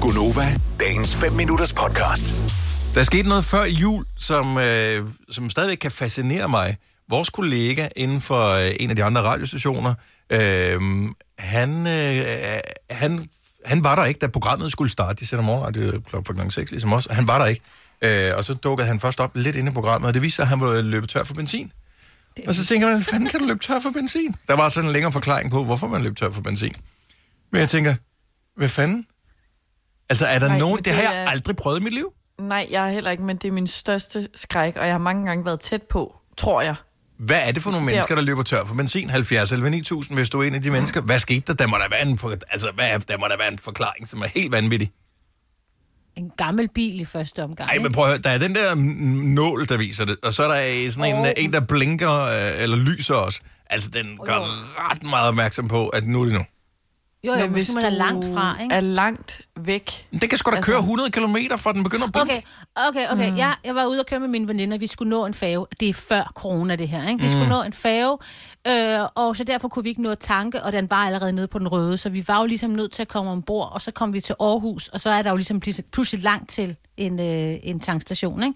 Gunova, dagens 5 minutters podcast. Der skete noget før jul, som, øh, som stadigvæk kan fascinere mig. Vores kollega inden for øh, en af de andre radiostationer, øh, han, øh, han, han var der ikke, da programmet skulle starte. De sender morgenradio klokken for klokken 6, ligesom os. og Han var der ikke. Øh, og så dukkede han først op lidt inde i programmet, og det viste sig, at han var løbet tør for benzin. Og så tænker man, hvordan fanden kan du løbe tør for benzin? Der var sådan en længere forklaring på, hvorfor man løb tør for benzin. Men jeg tænker, hvad fanden? Altså, er der Nej, nogen... men Det har det jeg er- aldrig prøvet i mit liv. Nej, jeg er heller ikke, men det er min største skræk, og jeg har mange gange været tæt på, tror jeg. Hvad er det for nogle mennesker, der løber tør for benzin? 70 eller 9000, hvis du er en af de mennesker. Hvad skete der? Der må der være en, for... altså, hvad er... der må der være en forklaring, som er helt vanvittig. En gammel bil i første omgang. Ej, men prøv at høre, der er den der mm, nål, der viser det, og så er der øh, sådan en, oh. en der blinker øh, eller lyser også. Altså, den gør jo. ret meget opmærksom på, at nu er det nu. Jo, jo, hvis man er langt fra, ikke? er langt væk, Men Den kan sgu da Altså- køre 100 km, fra den begynder at blinke. Okay, okay, okay. Mm. Jeg, jeg var ude og køre med mine veninder. Vi skulle nå en fave. Det er før corona, det her. Ikke? Vi Mm. skulle nå en fave, øh, og så derfor kunne vi ikke nå at tanke, og den var allerede nede på den røde. Så vi var jo ligesom nødt til at komme ombord, og så kom vi til Aarhus, og så er der jo ligesom plis- pludselig langt til en, øh, en tankstation, ikke?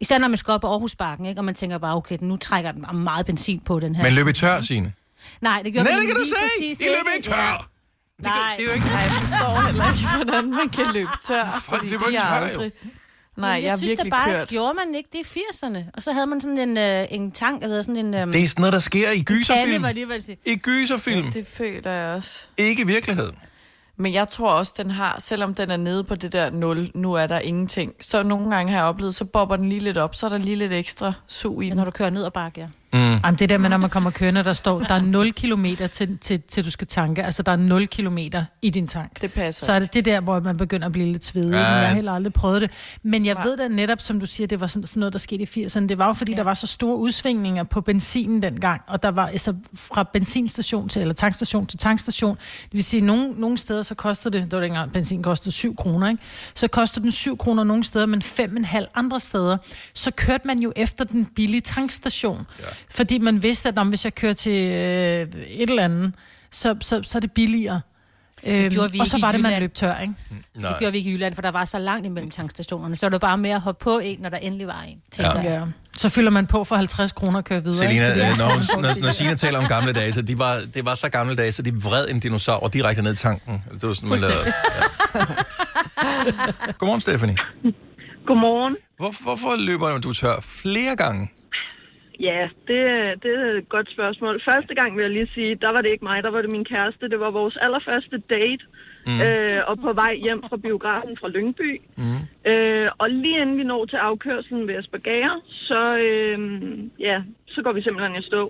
Især når man skal op på Aarhusbakken, ikke? og man tænker bare, okay, nu trækker den meget benzin på den her. Men løb i tør, Signe. Nej, det Nej, gjorde vi det kan du lige se! præcis I løb ikke Ja. tør! Det, kan- Nej. det er jo ikke... Nej, jeg forstår heller ikke, hvordan man kan løbe tør. Folk fordi løber de ikke har tør, jo. aldrig- Nej, jeg, jeg, har synes virkelig da bare, kørt. gjorde man ikke det i 80'erne. Og så havde man sådan en, øh, en tank, eller sådan en... Øh, Det er sådan noget, der sker i kande, gyserfilm. var jeg lige ved at sige. I gyserfilm. Det føler jeg også. Ikke i virkeligheden. Men jeg tror også, den har, selvom den er nede på det der 0, nu er der ingenting. Så nogle gange har jeg oplevet, så bobber den lige lidt op, så er der lige lidt ekstra sug i Ja, den. når du kører ned og bakke, ja. Jamen, det der med, når man kommer kørende, der står, der er 0 km til, til, til du skal tanke. Altså, der er 0 km i din tank. Det passer. Så er det det der, hvor man begynder at blive lidt svedig. Ja. Jeg har heller aldrig prøvet det. Men jeg ved da netop, som du siger, det var sådan, sådan noget, der skete i 80'erne. Det var jo, fordi ja. der var så store udsvingninger på benzinen dengang. Og der var altså fra benzinstation til, eller tankstation til tankstation. Det vil sige, nogle, nogle steder så kostede det, det var dengang, benzin kostede 7 kroner, ikke? Så kostede den 7 kroner nogle steder, men 5,5 andre steder. Så kørte man jo efter den billige tankstation. Ja. Fordi man vidste, at om, hvis jeg kører til øh, et eller andet, så, så, så er det billigere. Øhm, gjorde vi og så ikke i var det, man Jylland. løb tør, ikke? Det gjorde vi ikke i Jylland, for der var så langt imellem tankstationerne. Så var det bare med at hoppe på en, når der endelig var en. Ja. Jeg. Ja. Så fylder man på for 50 kroner og kører videre. Selina, ikke? altså- Fordi- øh, når, hun- når, når Sina taler om gamle dage, så de var, det var så gamle dage, så de vred en dinosaur direkte ned i tanken. Det var sådan, man lavede. Ja. Godmorgen, Stephanie. Godmorgen. Hvor, hvorfor løber du tør flere gange? Ja, det, det er et godt spørgsmål. Første gang vil jeg lige sige, der var det ikke mig, der var det min kæreste. Det var vores allerførste date, mm. øh, og på vej hjem fra biografen fra Lyngby. Mm. Øh, og lige inden vi når til afkørselen ved Asperger, så, øh, ja, så går vi simpelthen i stå.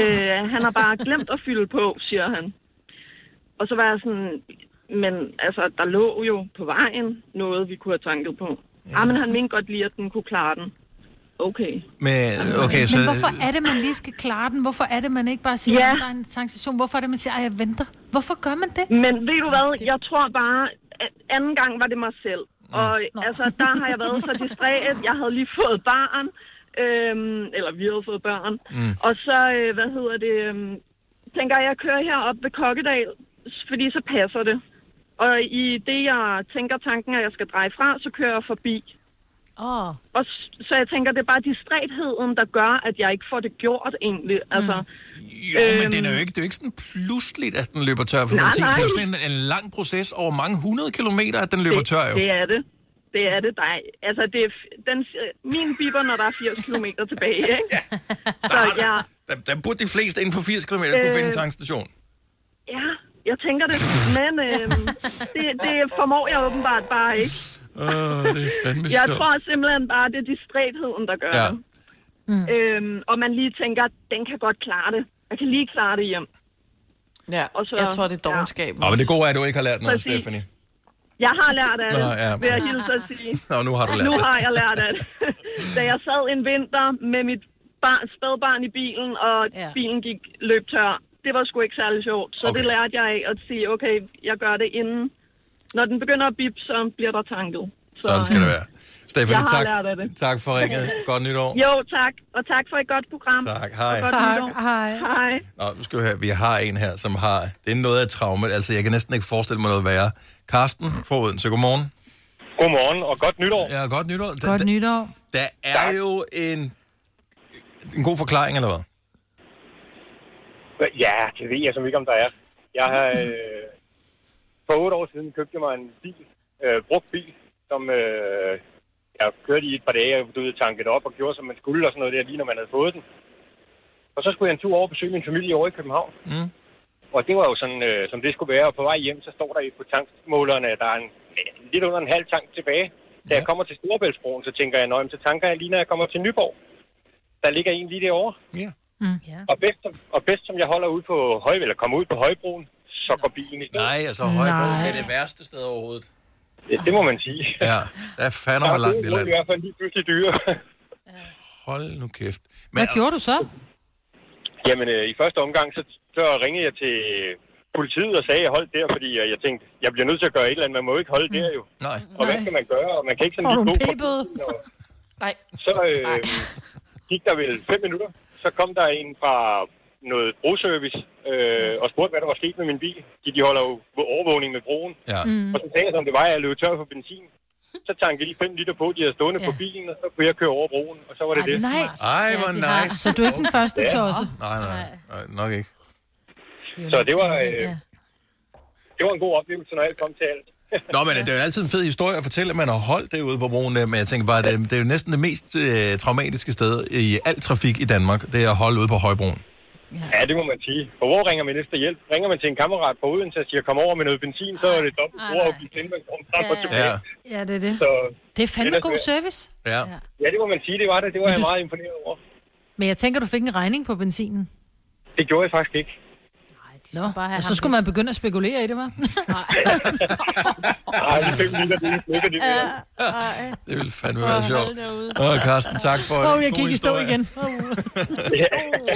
Øh, han har bare glemt at fylde på, siger han. Og så var jeg sådan, men altså, der lå jo på vejen noget, vi kunne have tanket på. Ja. Ah, men han mente godt lige, at den kunne klare den. Okay. Men, okay, så, Men hvorfor er det, man lige skal klare den? Hvorfor er det, man ikke bare siger, Ja. ja. at der er en tankstation? Hvorfor er det, man siger, at jeg venter? Hvorfor gør man det? Men ved du hvad, jeg tror bare, at anden gang var det mig selv. Og altså, der har jeg været så distræt. Jeg havde lige fået barn. Øhm, eller vi havde fået børn. Mm. Og så, øh, hvad hedder det, øhm, tænker jeg, jeg kører herop ved Kokkedal, s- fordi så passer det. Og i det, jeg tænker tanken, at jeg skal dreje fra, så kører jeg forbi. Åh, Og s- så jeg tænker, det er bare distrætheden, der gør, at jeg ikke får det gjort egentlig. Altså, jo, men den er jo ikke, det er jo ikke sådan pludseligt, at den løber tør for Øhm. Nej, benzin. Det er jo nej. sådan en, en lang proces over mange hundrede kilometer, at den løber tør jo. Det er det. Det er det. Der er, altså, det er, f- den, min biber, når der er 80 km tilbage, ikke? Ja. Så jeg, Ah, Der, der burde de fleste inden for 80 km kunne Øh. finde en tankstation. ja, jeg tænker det. Men øhm, det, det formår jeg åbenbart bare ikke. Åh, det er fandme Jeg sjovt. tror simpelthen bare, det er distrætheden, der gør Ja. det. Øhm, og man lige tænker, den kan godt klare det. Jeg kan lige klare det hjem. Ja, Og så- jeg tror, det er ja. dogenskab. Nå, men det gode er, at du ikke har lært noget, Præcis. Stephanie. Jeg har lært af det, Nå, ja. vil jeg hilse at sige. Nå, nu har du lært Nu det. har jeg lært af det. Da jeg sad en vinter med mit barn, spædbarn i bilen, og ja. Ja. bilen gik løb tør, det var sgu ikke særlig sjovt. Så okay. det Okay. lærte jeg af at sige, okay, jeg gør det inden. Når den begynder at bip, så bliver der tanket. Så, Sådan skal det være. Stefanie, Jeg har tak, lært af det. tak for ringet. Godt nytår. Jo, tak. Og tak for et godt program. Tak, hej. Og godt Tak, nytår. hej. Hej. Nå, nu skal vi høre, vi har en her, som har... Det er noget af traumet. Altså, jeg kan næsten ikke forestille mig noget værre. Karsten fra Odense, godmorgen. Godmorgen og godt nytår. Ja, godt nytår. Der, Godt nytår. der, der er Tak. jo en, en god forklaring, eller hvad? Ja, det ved jeg som ikke, om der er. Jeg har øh, for otte år siden købte jeg mig en bil, øh, brugt bil, som øh, jeg kørte i et par dage, og du ved, tankede op og gjorde, som man skulle, og sådan noget der, lige når man havde fået den. Og så skulle jeg en tur over og besøge min familie over i København. Mm. Og det var jo sådan, øh, som det skulle være. Og på vej hjem, så står der på tankmålerne, at der er en, ja, lidt under en halv tank tilbage. Da Ja. jeg kommer til Storebæltsbroen, så tænker jeg, "Nå, jamen, så tanker jeg lige, når jeg kommer til Nyborg. Der ligger en lige derovre. Ja. Og bedst, som- og bedst som jeg holder ud på høj, eller kommer ud på Højbroen, så går bilen i stå. Nej, altså Højbro, Nej. det er det værste sted overhovedet. Ja, det må man sige. Ja, der er Der fandme er langt gode det grunde land. i hvert fald lige pludselig dyre. Hold nu kæft. Hvad Men, gjorde du så? Jamen, øh, i første omgang, så, så ringede jeg til politiet og sagde, at jeg holdt der, fordi øh, jeg tænkte, jeg bliver nødt til at gøre et eller andet. Man må jo ikke holde der jo. nej, Og hvad skal man gøre? Og man kan ikke sådan Mm. Får du en lige gå fra p-bøde? bilen, og- Nej. Så øh, Nej. gik der vel fem minutter. Så kom der en fra noget broservice Mm. øh, og spurgte, hvad der var sket med min bil. De, de holder jo overvågning med broen. ja. Mm. Og så sagde jeg, som det var, at jeg løb tør for benzin. Så tankede jeg lige 5 liter på, de havde stående Ja. ja. på bilen, og så kunne jeg køre over broen, og så var det Ej, det. det er Nej. smart. Ej, Ja, hvor de har- nice. Så du er ikke den første Ja. tosse? Nej, nej, nej, nok ikke. er jo Så lidt det var, sådan, øh, ja. Det var en god oplevelse, når alt kom til alt. Nå, men det er jo altid en fed historie at fortælle, at man har holdt det ude på broen der, men jeg tænker bare, at det, det er jo næsten det mest øh, traumatiske sted i al trafik i Danmark, det er at holde ude på Højbroen. Ja, det må man sige. For hvor ringer man efter hjælp? Ringer man til en kammerat på Odense og siger, kom over med noget benzin, så er det dobbelt Ej, brugerafgift, inden man kommer frem og Ja. tilbage. Ja, Ja, det er det. Så Det er fandme Ellers god vil- service. ja. ja, det må man sige, det var det. Det var Men jeg du- meget imponeret over. Men jeg tænker, du fik en regning på benzinen. Det gjorde jeg faktisk ikke. Ej, de Nå, skulle bare have og så ham skulle man begynde at spekulere i det, var? Nej, de fem liter, det er ikke lykke, det er. det ville fandme være sjovt. Åh, Carsten, tak for Åh, en jeg god gik i stå historie. igen.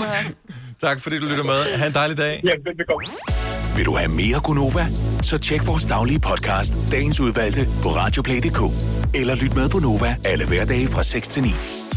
Oh. Tak fordi du lytter med. Ha' en dejlig dag. Ja, velbekomme. Vil du have mere Gunova? Så tjek vores daglige podcast, dagens udvalgte, på radioplay.dk. Eller lyt med på Nova alle hverdage fra 6 til 9.